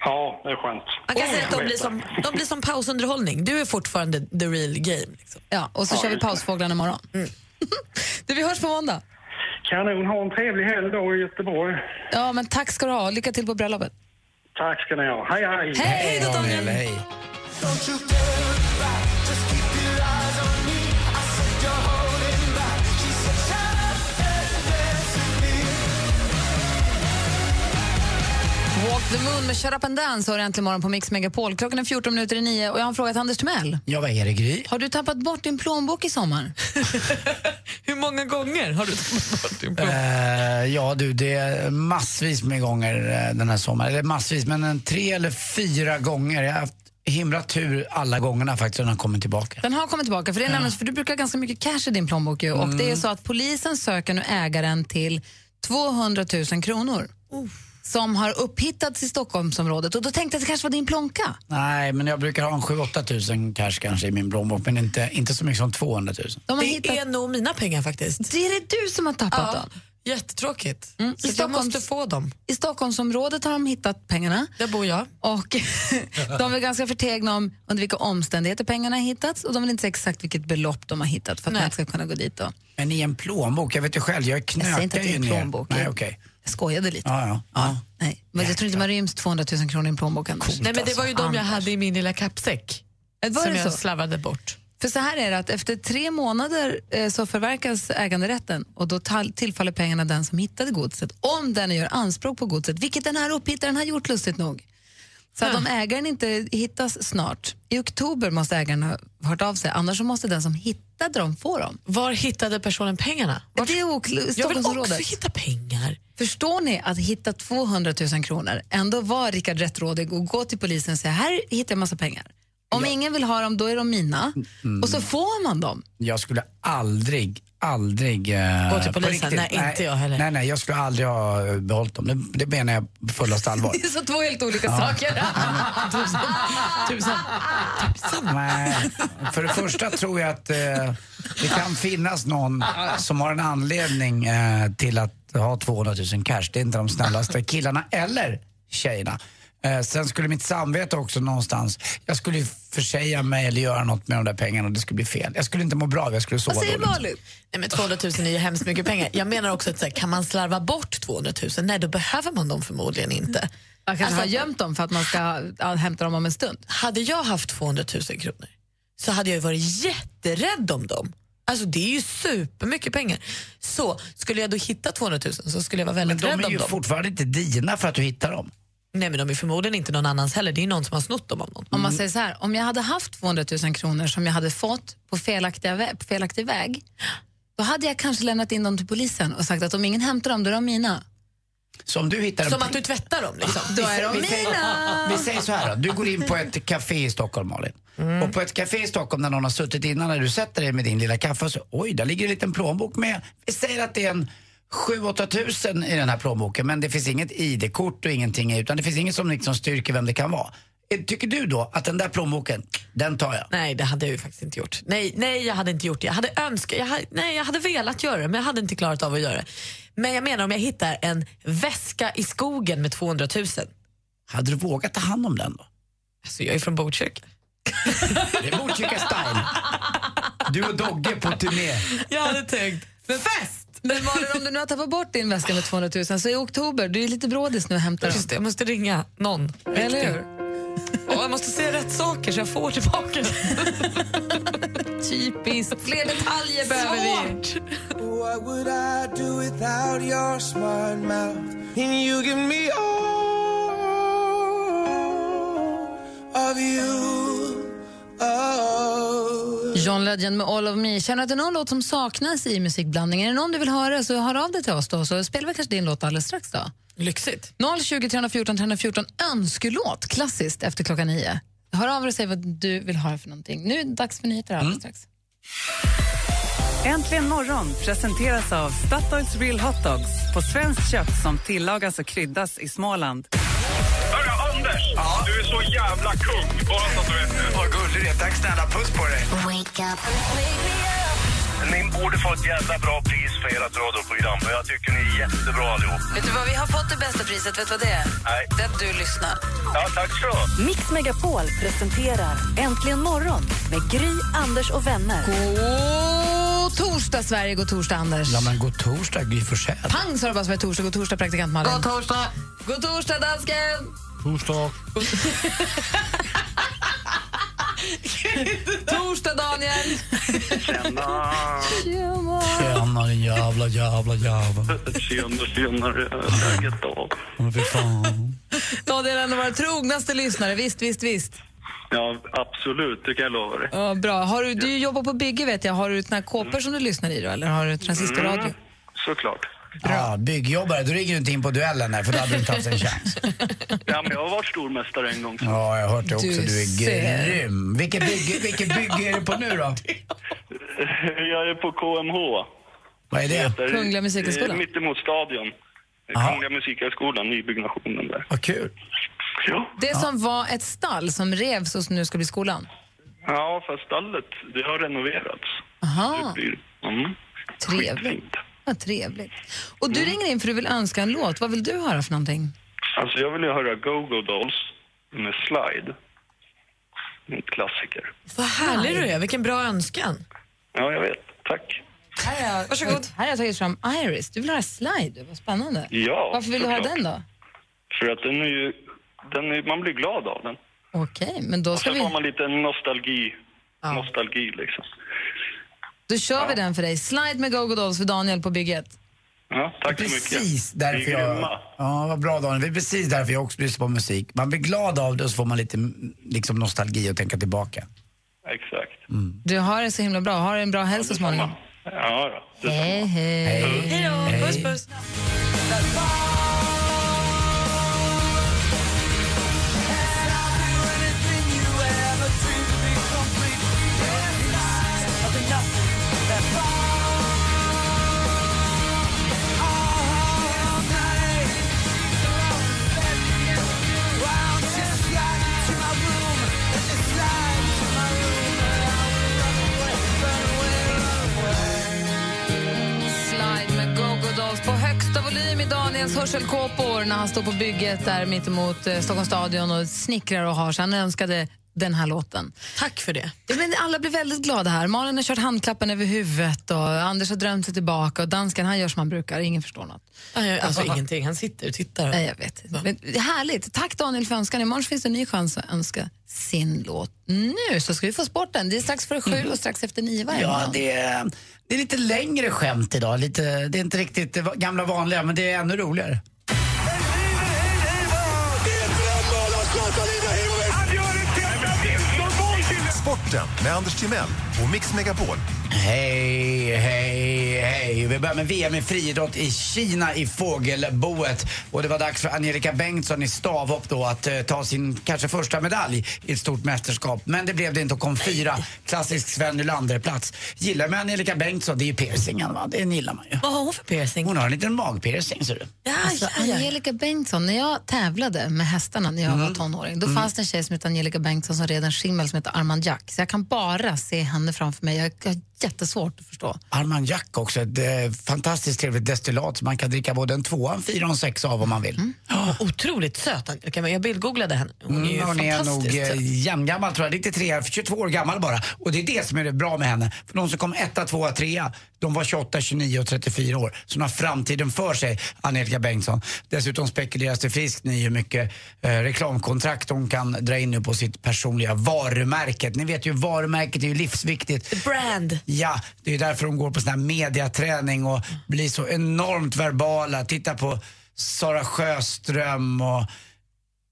Ja, det är skönt. Man kan säga att de blir, som, de blir som pausunderhållning. Du är fortfarande the real game. Liksom. Ja, och så Ja, kör vi just det. Mm. pausfåglarna imorgon. du, vi hörs på måndag. Kanon, ha en trevlig helg då i Göteborg. Ja, men tack ska du ha. Lycka till på bröllopet. Tack ska ni ha. Hej, hej! Hej då, Daniel. Hej. Walk the moon med Shut up and dance hör äntligen morgon på Mix Megapol. Klockan är 14 minuter i nio och jag har en fråga till Anders Timell. Ja, vad är det, Gry? Har du tappat bort din plånbok i sommar? Hur många gånger har du tappat bort din plånbok? Eh, ja du, det är massvis med gånger eh, den här sommaren. Eller massvis, men en tre eller fyra gånger. Jag har haft himla tur alla gångerna faktiskt när den har kommit tillbaka. Den har kommit tillbaka, för, det är nämligen, för du brukar ha ganska mycket cash i din plånbok ju, och Mm. det är så att polisen söker nu ägaren till 200 000 kronor som har upphittats i Stockholmsområdet och då tänkte jag att det kanske var din plånka. Nej, men jag brukar ha en 7-8 tusen cash kanske i min plånbok, men inte, inte så mycket som 200 000. De har det är nog mina pengar faktiskt. Det är det du som har tappat ja, dem. Jättetråkigt. Mm, Så i att jag Stockholms- måste få dem. I Stockholmsområdet har de hittat pengarna. Där bor jag. Och de är ganska förtegna om under vilka omständigheter pengarna har hittats och de vill inte säga exakt vilket belopp de har hittat för att man inte ska kunna gå dit. Då. Men i en plånbok, jag vet ju själv, jag knökar Jag säger inte att det är ju en ner. plånbok. Nej, Jag- okej. Jag skojade lite. Ja, ja. ja. Nej, men jag tror inte man ryms 200 000 kronor i en plånbok annars. Nej, men det var ju de jag hade i min lilla kappsäck. Äh, var som det jag så? slarvade bort. För så här är det att efter tre månader eh, så förverkas äganderätten och då tal- tillfaller pengarna den som hittade godset, om den gör anspråk på godset, vilket den här upphittaren har gjort lustigt nog. Så att om ägaren inte hittas snart, i oktober måste ägaren ha hört av sig, annars så måste den som hittade dem få dem. Var hittade personen pengarna? Det är okl- Jag vill också Stockholmsområdet. hitta pengar. Förstår ni att hitta 200 000 kronor, ändå var Rickard rättrådig och gå till polisen och säga här hittar jag massa pengar. Om ingen vill ha dem, då är de mina. Mm. Och så får man dem. Jag skulle aldrig, aldrig... eh, Gå till på polisen? Nej, inte jag heller. Nej, nej, jag skulle aldrig ha eh, behållit dem. Det, det menar jag på fullaste allvar. Det är så två helt olika Ja. saker. Tusen. Tusen. Nej, för det första tror jag att eh, det kan finnas någon som har en anledning eh, till att ha 200 000 cash. Det är inte de snällaste killarna eller tjejerna. Eh, sen skulle mitt samvete också någonstans, jag skulle ju försäga mig eller göra något med de där pengarna och det skulle bli fel. Jag skulle inte må bra, jag skulle sova Alltså, dåligt. Nej, men 200 000 är ju hemskt mycket pengar. Jag menar också att så här, kan man slarva bort 200 000? Nej, då behöver man dem förmodligen inte. Man kanske har gömt dem för att man ska ja, hämta dem om en stund. Hade jag haft 200 000 kronor så hade jag ju varit jätterädd om dem. Alltså det är ju supermycket pengar. Så skulle jag då hitta 200 000 så skulle jag vara Men väldigt de rädd är om ju dem. fortfarande inte dina för att du hittar dem. Nej men de är förmodligen inte någon annans heller, det är ju någon som har snott dem av någon. Om man säger så här, om jag hade haft 200 000 kronor som jag hade fått på, felaktiga vä- på felaktig väg, då hade jag kanske lämnat in dem till polisen och sagt att om ingen hämtar dem, då är de mina. Som du hittar Som att du tvättar dem liksom. Då är de vi säger- mina! Vi säger så här då. Du går in på ett café i Stockholm, Malin. Och på ett café i Stockholm där någon har suttit innan, när du sätter dig med din lilla kaffe och så, oj, där ligger en liten plånbok med. Vi säger att det är en 7-8 tusen i den här plånboken, men det finns inget ID-kort och ingenting i, utan det finns inget som liksom styrker vem det kan vara. Eh, Tycker du då att den där plånboken, den tar jag? Nej, det hade jag ju faktiskt inte gjort. Nej, nej jag hade inte gjort det. Jag hade, önskat, jag, hade, nej, jag hade velat göra det, men jag hade inte klarat av att göra det. Men jag menar om jag hittar en väska i skogen med 200 000. Hade du vågat ta hand om den då? Alltså, jag är från Botkyrka. Det är Botkyrka style. Du och Dogge på turné. Jag hade tänkt, fest! Men Malin, om du nu har tappat bort din väska med 200 000, så i oktober, du är lite brådis nu och hämtar Just det, jag måste ringa någon. Eller hur? Och jag måste säga rätt saker så jag får tillbaka Typiskt. Fler detaljer behöver vi. What would I do without your smart mouth? And you give me all of you. Oh. John Legend med All of Me. Känner du att det är någon låt som saknas i musikblandningen? Är det någon du vill höra så hör av dig till oss då så spelar vi kanske din låt alldeles strax då. Lyxigt. 020 314 314 önskelåt, klassiskt, efter klockan nio. Hör av dig och säg vad du vill höra för någonting. Nu är det dags för nyheter alldeles strax. Äntligen morgon presenteras av Statoils Real Hot Dogs på svenskt kött som tillagas och kryddas i Småland. Hörru, Anders! Du är så jävla kung! Bara så att du vet det. Vad gullig du är. Tack snälla. Puss på dig. Wake up. Ni borde få ett jävla bra pris för ert radioprogram. För jag tycker ni är jättebra allihop. Vet du vad, vi har fått det bästa priset. Vet du vad det är? Nej. Det är att du lyssnar. Ja, tack så. Mix Megapol presenterar Äntligen morgon med Gry, Anders och vänner. God torsdag, Sverige. God torsdag, Anders. Ja men god torsdag Gry Forssell. Pang sa du bara som är torsdag. God torsdag, praktikant Malin. God torsdag. God torsdag, dansken. Torsdag. torsdag, Daniel. Tjena! Tjenare jävla jävla jävla. Tjena, tjenare. Läget då? Men fy fan. Daniel är en av våra trognaste lyssnare. Visst, visst, visst. Ja, absolut. Det kan jag lova dig. Ja, bra. Har du, du jobbar på bygge, vet jag. Har du såna här kåpor som du lyssnar i då, eller har du transistorradio? Mm, såklart. Ja, byggjobbare, då ringer du inte in på duellen här för då hade du inte haft en chans. Ja, men jag har varit stormästare en gång. Ja, jag har hört det också. Du Du, ser. är grym. Vilket bygge, vilket bygge är du på nu då? Jag är på KMH. Vad är det? heter- Kungliga Musikhögskolan? eh, Mittemot stadion. Aha. Kungliga Musikhögskolan, nybyggnationen där. Vad kul. Ja. Det som var ett stall som revs och som nu ska bli skolan. Ja, fast stallet, det har renoverats. Aha, Mm. Ah. trevligt. Vad trevligt. Och du ringer in för du vill önska en låt. Vad vill du höra för någonting? Alltså, jag vill ju höra Go-Go Dolls med Slide. En klassiker. Vad härlig du är, vilken bra önskan. Ja, jag vet. Tack. Här är, Varsågod. Här har jag tagit fram Iris. Du vill höra Slide, vad spännande. Ja, Varför vill du höra såklart. den då? För att den är ju... Den är, man blir glad av den. Okej, men då Och ska sen vi... får man lite nostalgi. Nostalgi, liksom. Då kör vi den för dig. Slide med Go-Go Dolls för Daniel på bygget. Ja, tack så mycket. Precis Ni är därför jag... grymma. Ja, vad bra Daniel. Det är precis därför jag också lyssnar på musik. Man blir glad av det och så får man lite mm, liksom, nostalgi och tänka tillbaka. Exakt. Du har det så himla bra. Har en bra helg Mm. så småningom. Ja, då. Hej, hej. Hej då, puss puss. Slide med Go-Go Dolls på högsta volym i Daniels hörselkåpor när han står på bygget där mittemot eh, Stockholms stadion och snickrar och har så Han önskade den här låten. Tack för det. Ja, Men alla blir väldigt glada här. Malin har kört handklappen över huvudet och Anders har drömt sig tillbaka och dansken han gör som han brukar. Ingen förstår något. Nej, Alltså ingenting, han sitter och tittar. Nej, jag vet. Men, härligt. Tack Daniel för önskan. Imorgon finns det en ny chans att önska sin låt. Nu så ska vi få sporten. Det är strax före sju och strax efter nio varje Ja, morgon. det är, det är lite längre skämt idag. Lite, det är inte riktigt det va- gamla vanliga, men det är ännu roligare. Sporten med Anders Timell och Mix Megapol. Hej, hej, hej. Vi börjar med VM i friidrott i Kina i fågelboet. Och det var dags för Angelica Bengtsson i stavhopp då att eh, ta sin kanske första medalj i ett stort mästerskap. Men det blev det inte och kom fyra. Klassisk Sven Nylander-plats. Gillar man Angelica Bengtsson, det är ju piercingen va? Det gillar man ju. Vad har hon för piercing? Hon har en liten magpiercing ser du. Alltså, Angelica Bengtsson, när jag tävlade med hästarna när jag var tonåring, då Mm. fanns det en tjej som hette Angelica Bengtsson som red en skimmel som hette Armand Jack. Så jag kan bara se henne framför mig. Jag jag har jättesvårt att förstå. Armagnac också, ett eh, fantastiskt trevligt destillat som man kan dricka både en tvåa, en fyra och en sexa av om man vill. Otroligt söt. Angelica, men Jag bildgooglade henne. Hon är ju Mm, hon är nog fantastiskt eh, söt. jämngammal tror jag, 93, 22 år gammal bara. Och det är det som är det bra med henne. För de som kom etta, tvåa, trea, de var 28, 29 och 34 år. Så hon har framtiden för sig, Angelica Bengtsson. Dessutom spekuleras det friskt nu hur mycket eh, reklamkontrakt hon kan dra in nu på sitt personliga varumärket. Ni vet ju, varumärket är ju livsviktigt. Brand. Ja, det är därför de går på sån här mediaträning och blir så enormt verbala. Titta på Sara Sjöström och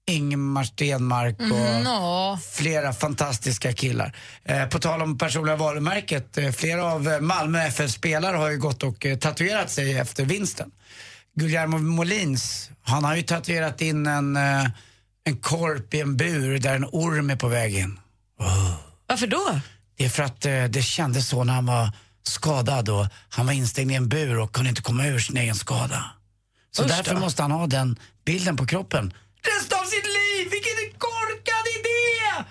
Ingemar Stenmark och flera fantastiska killar. Eh, på tal om personliga varumärket, eh, flera av eh, Malmö FF-spelare har ju gått och eh, tatuerat sig efter vinsten. Guillermo Molins, han har ju tatuerat in en, eh, en korp i en bur där en orm är på väg in. Varför då? Det är för att eh, det kändes så när han var skadad och han var instängd i en bur och kunde inte komma ur sin egen skada. Så Usch då. därför måste han ha den bilden på kroppen. Resten av sitt liv! Vilken korkad idé!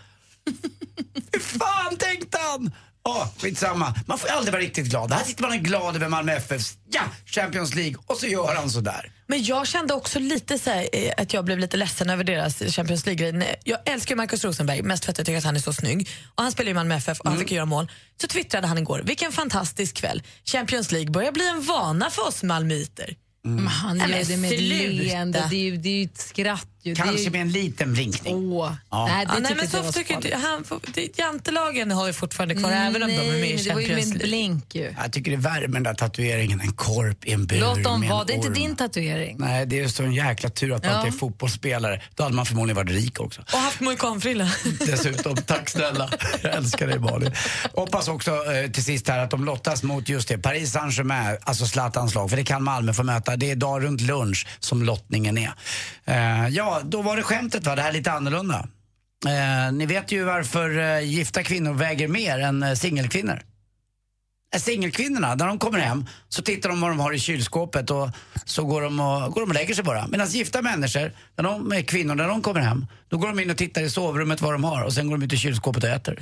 Hur fan tänkte han? Ja, skitsamma. Man får aldrig vara riktigt glad. Här sitter man och är glad över Malmö FFs ja, Champions League och så gör han sådär. Men jag kände också lite så här, eh, att jag blev lite ledsen över deras Champions League-grej. Nej, Jag älskar ju Marcus Rosenberg, mest för att jag tycker att han är så snygg. Och han spelar ju i Malmö FF och han fick ju göra mål. Så twittrade han igår, vilken fantastisk kväll. Champions League börjar bli en vana för oss malmöiter. Mm. Men Han Nej, men gör det med ett sluta. leende. Det är ju, det är ju ett skratt. Ju. det är Kanske ju... med en liten vinkning. Åh. Ja. Nej, det Ja, nej, tycker inte men jag så var så tycker farligt. inte han. får- det- Jantelagen har ju fortfarande kvar, även om de är med Nej, i men det var ju med Champions en League. blink ju. Jag tycker det är värre med den där tatueringen, en korp i en bur Låt dem med en vara, det är inte orm. din tatuering. Nej, det är så en jäkla tur att man Ja. inte är fotbollsspelare. Då hade man förmodligen varit rik också. Och haft mohikanfrilla. Dessutom, tack snälla. Jag älskar dig Malin. Hoppas också eh, till sist här att de lottas mot just det, Paris Saint-Germain, alltså Zlatans lag, för det kan Malmö få möta. Det är idag runt lunch som lottningen är. Eh, ja, då var det skämtet va, det här är lite annorlunda. Eh, ni vet ju varför eh, gifta kvinnor väger mer än eh, singelkvinnor. Eh, Singelkvinnorna, när de kommer hem så tittar de vad de har i kylskåpet och så går de och, går de och lägger sig bara. Medan gifta människor, när de är kvinnor, när de kommer hem, då går de in och tittar i sovrummet vad de har och sen går de ut i kylskåpet och äter.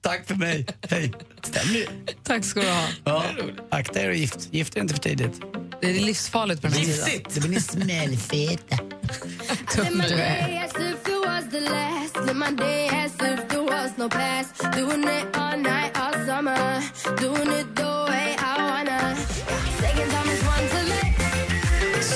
Tack för mig, hej. Stämmer ju. Tack ska du ha. Ja, akta er och gift, gift er inte för tidigt. Det är livsfarligt på den här tiden. Det blir ni smällfeta. Live my day as if it was the last. Live my day as if there was no past. Doing it all night, all summer. Doing it the way eh, I wanna. Second time is one to let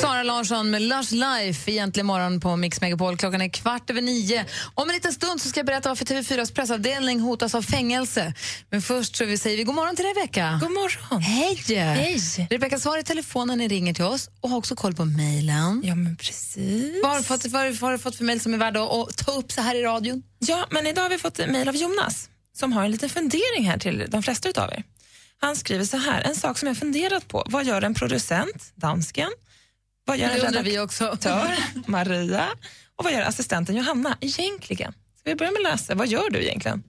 Sara Larsson med Lush Life egentligen morgon på Mix Megapol. Klockan är kvart över nio. Om en liten stund så ska jag berätta varför TV4s pressavdelning hotas av fängelse. Men först så vi säger vi god morgon till Rebecka. God morgon. Hej! Hej. Rebecka svarar i telefonen när ni ringer till oss och har också koll på mejlen. Ja, men precis. Vad har du fått, vad har du- vad har du fått för mejl som är värda att- att ta upp så här i radion? Ja, men idag har vi fått en mejl av Jonas som har en liten fundering här till de flesta utav er. Han skriver så här, en sak som jag funderat på, vad gör en producent, dansken? Vad gör en Det undrar vi redaktör, Maria? Och vad gör assistenten Johanna egentligen? Ska vi börja med Lasse, vad gör du egentligen?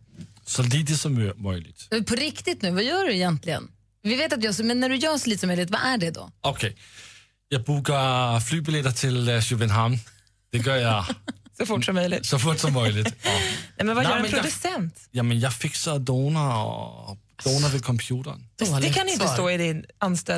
Så lite som mö- möjligt. På riktigt nu, vad gör du egentligen? Vi vet att du gör så, men när du gör så lite som möjligt, vad är det då? Okej. Jag bokar flygbilletter till eh, Köpenhamn. Det gör jag. så fort som möjligt. Så fort som möjligt. Ja. Nej, men vad Nej, gör en men jag- producent? Jamen, jag fixar donar och donar vid computern. Det kan inte stå i din Det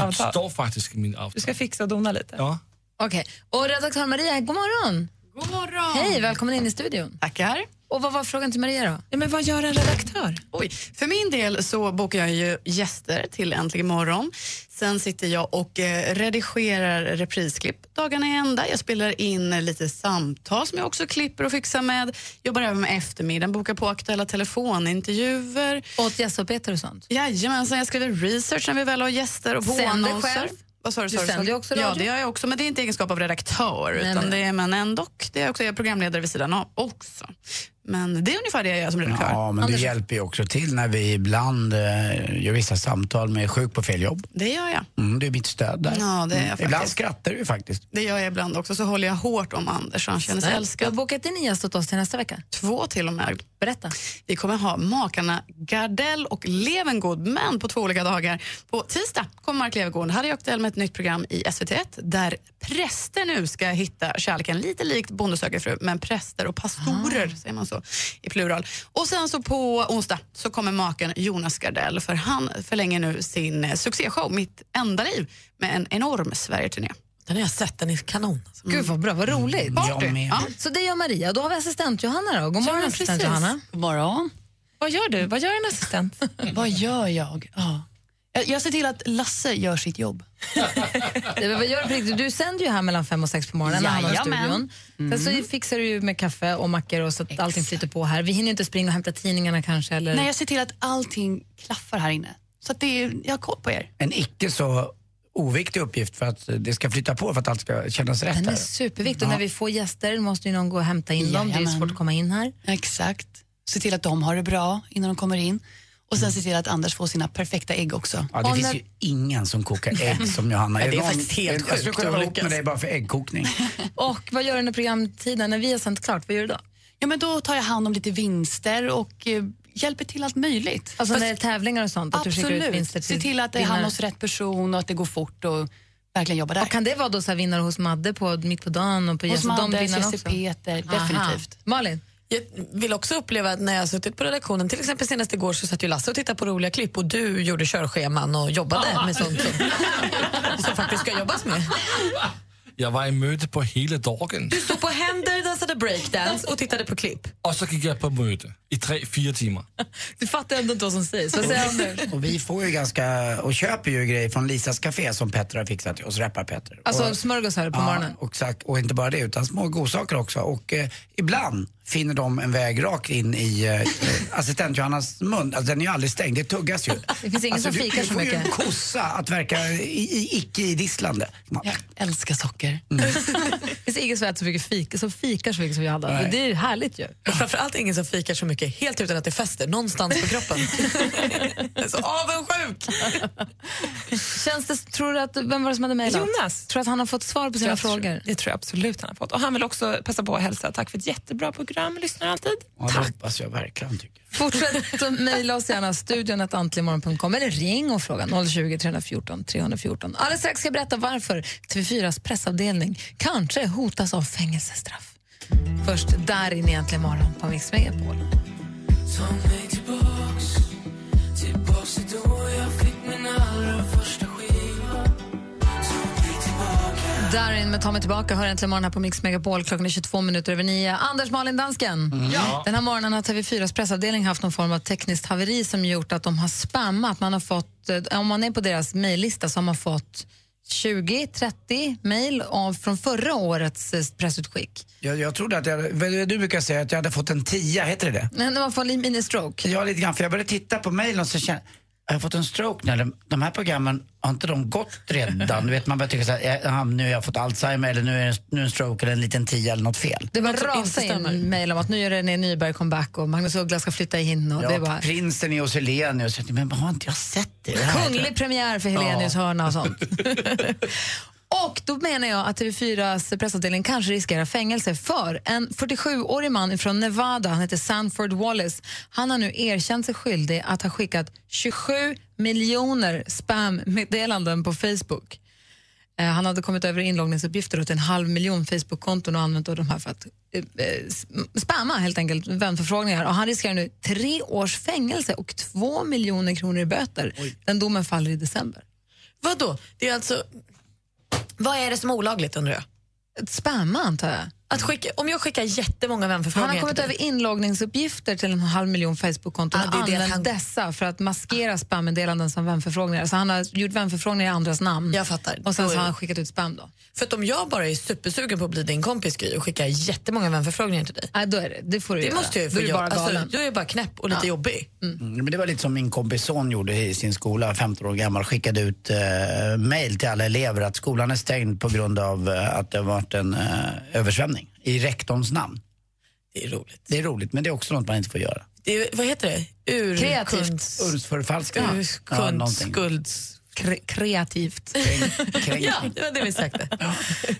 anställningsavtal. står faktiskt i min Du avtal. ska fixa och dona lite. Ja. Okej. Och redaktör Maria, god morgon. God morgon. Hej, välkommen in i studion. Tackar. Och vad var frågan till Maria då? Ja, men vad gör en redaktör? Oj, för min del så bokar jag ju gäster till Äntligen morgon. Sen sitter jag och eh, redigerar reprisklipp dagarna i ända. Jag spelar in eh, lite samtal som jag också klipper och fixar med. Jobbar även med eftermiddagen, bokar på aktuella telefonintervjuer. Åt gästarbetare och sånt? Jajamensan, jag skriver research när vi väl har gäster och på Sänder annonser. själv? Vad sa du? Du sa sänder sa ju också Ja, radio. det gör jag också, men det är inte i egenskap av redaktör. Nej, utan men- Det är, men ändå, det är också, jag är programledare vid sidan av också. Men det är ungefär det jag gör som redaktör. Ja, men det Anders? hjälper ju också till när vi ibland eh, gör vissa samtal med sjuk på fel jobb. Det gör jag. Mm, det är mitt stöd där. Ja, det är jag Mm. Ibland faktiskt. skrattar du ju faktiskt. Det gör jag ibland också, så håller jag hårt om Anders så han känner sig Snäll. älskad. Du har bokat in en gäst åt oss till nästa vecka. Två till och med. Berätta. Vi kommer ha makarna Gardell och Levengood, men på två olika dagar. På tisdag kommer Mark Levengood, Harry och Aktuell med ett nytt program i SVT1 där präster nu ska hitta kärleken, lite likt Bonde söker fru, men präster och Ah. pastorer säger man så i plural. Och sen så på onsdag så kommer maken Jonas Gardell för han förlänger nu sin eh, succéshow Mitt enda liv med en enorm Sverigeturné. Den har jag sett, den är kanon. Gud vad bra, vad roligt. Mm, Party. Jag med. Ja. Så det gör Maria. Då har vi assistent Johanna då. God morgon assistent Johanna. God morgon. Vad gör du? Vad gör en assistent? Vad gör jag? Ja. Jag- Jag ser till att Lasse gör sitt jobb. Det är- Vad gör du på riktigt? Du sänder ju här mellan fem och sex på morgonen när han har Jajamän. studion. Sen så fixar du ju med kaffe och mackor och så att allting flyter på här. Vi hinner ju inte springa och hämta tidningarna kanske. Eller... Nej, jag ser till att allting klaffar här inne. Så att det är, jag har koll på er. En icke så oviktig uppgift för att det ska flytta på för att allt ska kännas rätt Den är här. superviktig. Och Ja. när vi får gäster måste ju någon gå och hämta in dem. Det är ju Jajamän. svårt att komma in här. Exakt. Se till att de har det bra innan de kommer in. Och Mm. sen se till att Anders får sina perfekta ägg också. Ja, det finns ju ingen som kokar ägg som Johanna. Ja, det är någon- faktiskt helt Jag skulle sjukt kunna att vara hon ihop med lyckas. dig bara för äggkokning. Och vad gör du under programtiden? När vi har sänt klart, vad gör du då? Ja, men då tar jag hand om lite vinster och eh, hjälper till allt möjligt. Alltså Fast- när det är tävlingar och sånt? Att du skickar ut Absolut. vinster till Se till att det hamnar vinnare. hos rätt person och att det går fort och verkligen jobba där. Och kan det vara då så här vinnare hos Madde på, mitt på dagen? Och på Hos Jesse? Madde, de vinnarna Jesse också? Peter, Aha. definitivt. Malin? Jag vill också uppleva att när jag har suttit på redaktionen, till exempel senast igår så satt ju Lasse och tittade på roliga klipp och du gjorde körscheman och jobbade med sånt som, som faktiskt ska jobbas med. Jeg var i møte på hele dagen, Du stod på händer, dansade breakdance och tittade på klipp. og så gik jeg på møte i tre-fire timer. Du fattar ändå inte vad som sägs. Vad säger Mm. Anders? Och vi får ju ganska, och köper ju grejer från Lisas Café som Petter har fixat till oss, rappar-Petter. Alltså och, smörgåsar på Ja, morgonen? och Exakt, och inte bara det utan små godsaker också. Och eh, ibland finner de en väg rakt in i eh, assistent Johannas mun. Alltså den är ju aldrig stängd, det tuggas ju. Det finns ingen alltså, som du- fikar så Du får ju mycket. en kossa att verka i, i, icke-idisslande. Jag älskar socker. Mm. Det finns ingen som äter så mycket fika, som fikar så mycket som jag hade. Nej. Det är ju härligt ju. Och framförallt ingen som fikar så mycket helt utan att det fäster någonstans på kroppen. Jag är så avundsjuk! Känns det, tror du att, vem var det som hade mejlat? Jonas. Tror du att han har fått svar på sina Jag tror- frågor? Det tror jag absolut han har fått. Och han vill också passa på att hälsa. Tack för ett jättebra program, lyssnar alltid. Ja, det hoppas jag verkligen tycker. Fortsätt att mejla oss gärna, studion eller ring och fråga 020 314 314. Alldeles strax ska jag berätta varför TV4s pressavdelning kanske hotas av fängelsestraff. Först där in egentligen imorgon på Mix Megapol. Ta mig tillbaks, tillbaks till då jag fick min allra första skiva. Ta mig tillbaka. Darin med Ta mig tillbaka hör äntligen morgon här på Mix Megapol. Klockan är 22 minuter över nio. Anders Malin Dansken. Mm. Ja. Den här morgonen har TV4s pressavdelning haft någon form av tekniskt haveri som gjort att de har spammat. Man har fått, eh, om man är på deras mejllista så har man fått 20-30 mejl av- från förra årets eh, pressutskick. Jag, jag trodde att jag, vad du brukar säga att jag hade fått en tia, heter det det? Men man får en mini-stroke. Ja, lite grann. För jag började titta på mejlen och så kände jag, har jag fått en stroke när de, de här programmen, har inte de gått redan? Du vet, man börjar tycka så här, "Eh, ah, nu har jag fått Alzheimer eller nu är det en, nu är det en stroke eller en liten tia eller något fel. Det bara som rasar in mejl om att nu gör René Nyberg comeback och Magnus Uggla ska flytta in. Och Ja, det är bara prinsen är hos Helenius. Jag tänkte, Men har inte jag sett det? det här? kunglig premiär för Helenius Ja. hörna och sånt. Och då menar jag att TV4s pressavdelning kanske riskerar fängelse för en 47-årig man från Nevada, han heter Sanford Wallace, han har nu erkänt sig skyldig att ha skickat 27 miljoner spammeddelanden på Facebook. Eh, Han hade kommit över inloggningsuppgifter åt en halv miljon Facebook-konton och använt de här för att eh, eh, sm- spamma helt enkelt vänförfrågningar. Och han riskerar nu tre års fängelse och två miljoner kronor i böter. Den domen faller i december. Vad då? Det är alltså... Vad är det som är olagligt undrar jag? Spamma antar jag. Att skicka, om jag skickar jättemånga Han har vänförfrågningar kommit till dig. över inloggningsuppgifter till en halv miljon Facebook-konton Ah, och det är det använt han- dessa för att maskera spammeddelanden som vänförfrågningar. Så han har gjort vänförfrågningar i andras namn. Jag fattar. Och sen Då så är- har han skickat ut spam då. För att om jag bara är supersugen på att bli din kompis Gry, och skickar jättemånga vänförfrågningar till dig. Nej, då är det. Det får du Det göra. måste jag ju Då få är du göra. bara galen. Alltså, jag är bara knäpp och lite Ja. jobbig. Mm, Men det var lite som min kompis son gjorde i sin skola, 15 år gammal, skickade ut eh, mail till alla elever att skolan är stängd på grund av eh, att det har varit en eh, översvämning i rektorns namn. Det är roligt. Det är roligt, men det är också något man inte får göra. Det är, vad heter det? Ur Kreativt. kunds- Urkundsförfalskning. Ja, Urkunds... någonting. skulds... Kre- kreativt. ja, det var det vi sökte.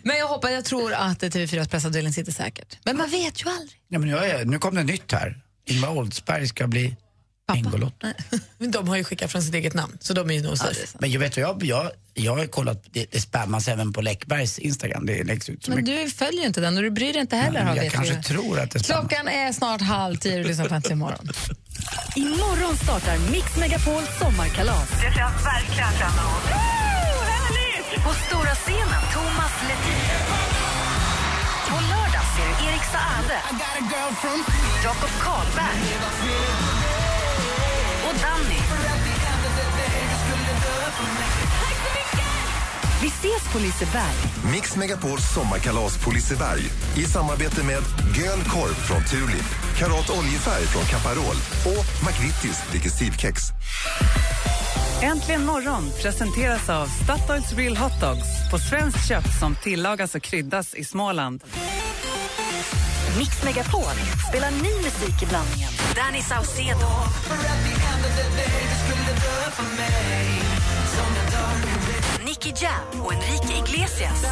Men jag hoppas, jag tror att TV4s pressavdelning sitter säkert. Men man vet ju aldrig. Nej, men jag är, nu kom det nytt här. Ingvar Oldsberg ska bli Bingolotto. Men de har ju skickat från sitt eget namn, så de är ju nog Ja, safe. men jag vet vad jag, jag, jag har kollat, det, det spammas även på Läckbergs Instagram. Det läggs ut så Men mycket. du följer ju inte den och du bryr dig inte heller. har jag vet kanske vi. tror att det spammas. Klockan är snart halv tio och du lyssnar på Äntligen morgon. Imorgon startar Mix Megapol sommarkalas. Det känns verkligen fram emot. Woo, härligt! På stora scenen Thomas Ledin. På lördag ser du Erik Saade, Jakob Karlberg och Danny. Vi ses på Liseberg. Mix Megapols sommarkalas på Liseberg i samarbete med Göl Korv från Tulip, Karat Oljefärg från Caparol och McVittys Digestivkex. Äntligen morgon presenteras av Statoils Real Hot Dogs på svenskt kött som tillagas och kryddas i Småland. Mix Megapol spelar ny musik i blandningen. Danny Saucedo. Nicky Jam och Enrique Iglesias.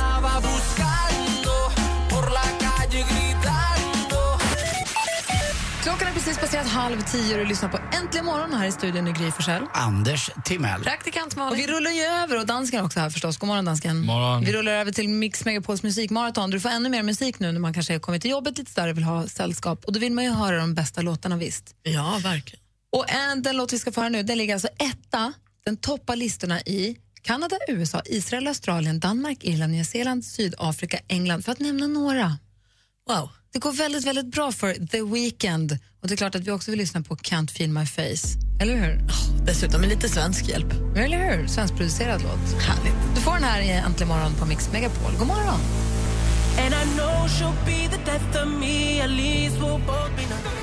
Klockan är precis passerat halv tio och du lyssnar på Äntligen morgon här i studion i Gry Forssell. Anders Timell. Praktikant Malin. Och vi rullar ju över, och dansken också här förstås. God morgon dansken. Morgon. Vi rullar över till Mix Megapols musikmaraton. Du får ännu mer musik nu när man kanske har kommit till jobbet lite där och vill ha sällskap. Och då vill man ju höra de bästa låtarna visst. Ja, verkligen. Och en, den låt vi ska få höra nu, den ligger alltså etta. Den toppar listorna i Kanada, USA, Israel, Australien, Danmark, Irland, Nya Zeeland, Sydafrika, England, för att nämna några. Wow. Det går väldigt, väldigt bra för The Weeknd. Och det är klart att vi också vill lyssna på Can't feel my face. Eller hur? dessutom med lite svensk hjälp. Eller hur? Svenskproducerad låt. Härligt. Du får den här i Äntligen morgon på Mix Megapol. God morgon! And I know she'll be the death of me. At least we'll both be numb.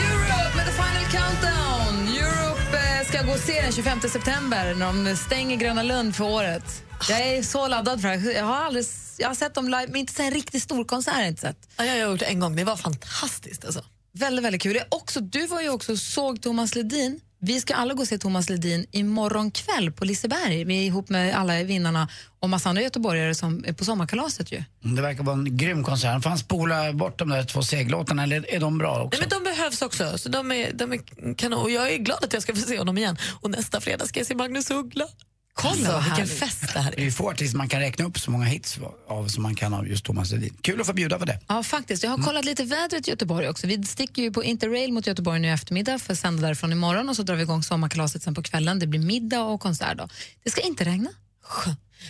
Europe med The Final Countdown. Europe eh, ska gå och se den 25 september när de stänger Gröna Lund för året. Jag är så laddad för det här. Jag har, aldrig, jag har sett dem live, men inte så en riktigt stor konsert. har jag Inte sett. Ja, jag har gjort det en gång. Det var fantastiskt. Alltså. Väldigt, väldigt kul. Jag också, du var ju också och såg Thomas Ledin. Vi ska alla gå och se Thomas Ledin imorgon kväll på Liseberg. Vi är ihop med alla vinnarna och massa andra göteborgare som är på sommarkalaset ju. Det verkar vara en grym koncern. Får han spola bort de där två seglåtarna eller är de bra också? Nej, men de behövs också. Så de är, de är kanon. Och jag är glad att jag ska få se honom igen. Och nästa fredag ska jag se Magnus Uggla. Kolla, vad vilken härligt. fest det här är. Det är ju få artister man kan räkna upp så många hits av som man kan av just Thomas Ledin. Kul att få bjuda på det. Ja, faktiskt. Jag har kollat lite vädret i Göteborg också. Vi sticker ju på Interrail mot Göteborg nu i eftermiddag för att sända därifrån imorgon och så drar vi igång sommarkalaset sen på kvällen. Det blir middag och konsert då. Det ska inte regna.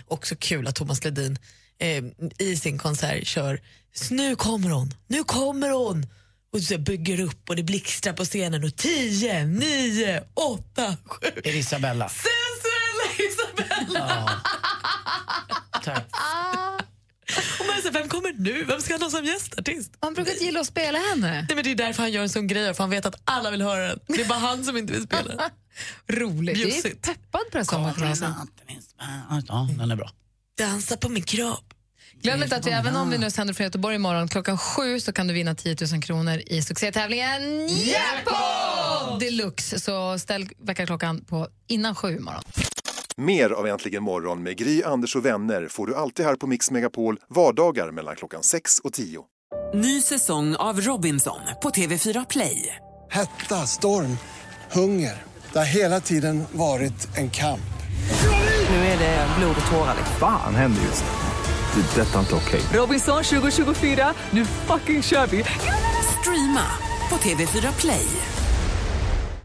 Också kul att Thomas Ledin eh, i sin konsert kör "Så Nu kommer hon, nu kommer hon! Och så bygger upp och det blixtrar på scenen och 10, 9, 8, 7. Är det Isabella? Sensuella Isabella! Och man säger, vem kommer nu? Vem ska han ha som gästartist? Han brukar inte gilla att spela henne. Nej, men det är därför han gör en sån grej, för han vet att alla vill höra den. Det är bara han som inte vill spela. Roligt. Vi är Bjussigt. peppad på det här sommarkalaset. Ja, den är bra. Dansa på min kropp. Glöm inte att vi, även om vi nu sänder från Göteborg imorgon klockan sju så kan du vinna 10 000 kronor i succétävlingen Jackpot Deluxe. Så ställ väckarklockan på innan sju imorgon. Mer av Äntligen morgon med Gry, Anders och vänner får du alltid här på Mix Megapol vardagar mellan klockan 6 och 10. Ny säsong av Robinson på TV4 Play. Hetta, storm, hunger. Det har hela tiden varit en kamp. Nu är det blod och tårar. liksom. Fan händer just nu. Det. är Detta är inte okej. Robinson 2024, nu fucking kör vi! Streama på TV4 Play.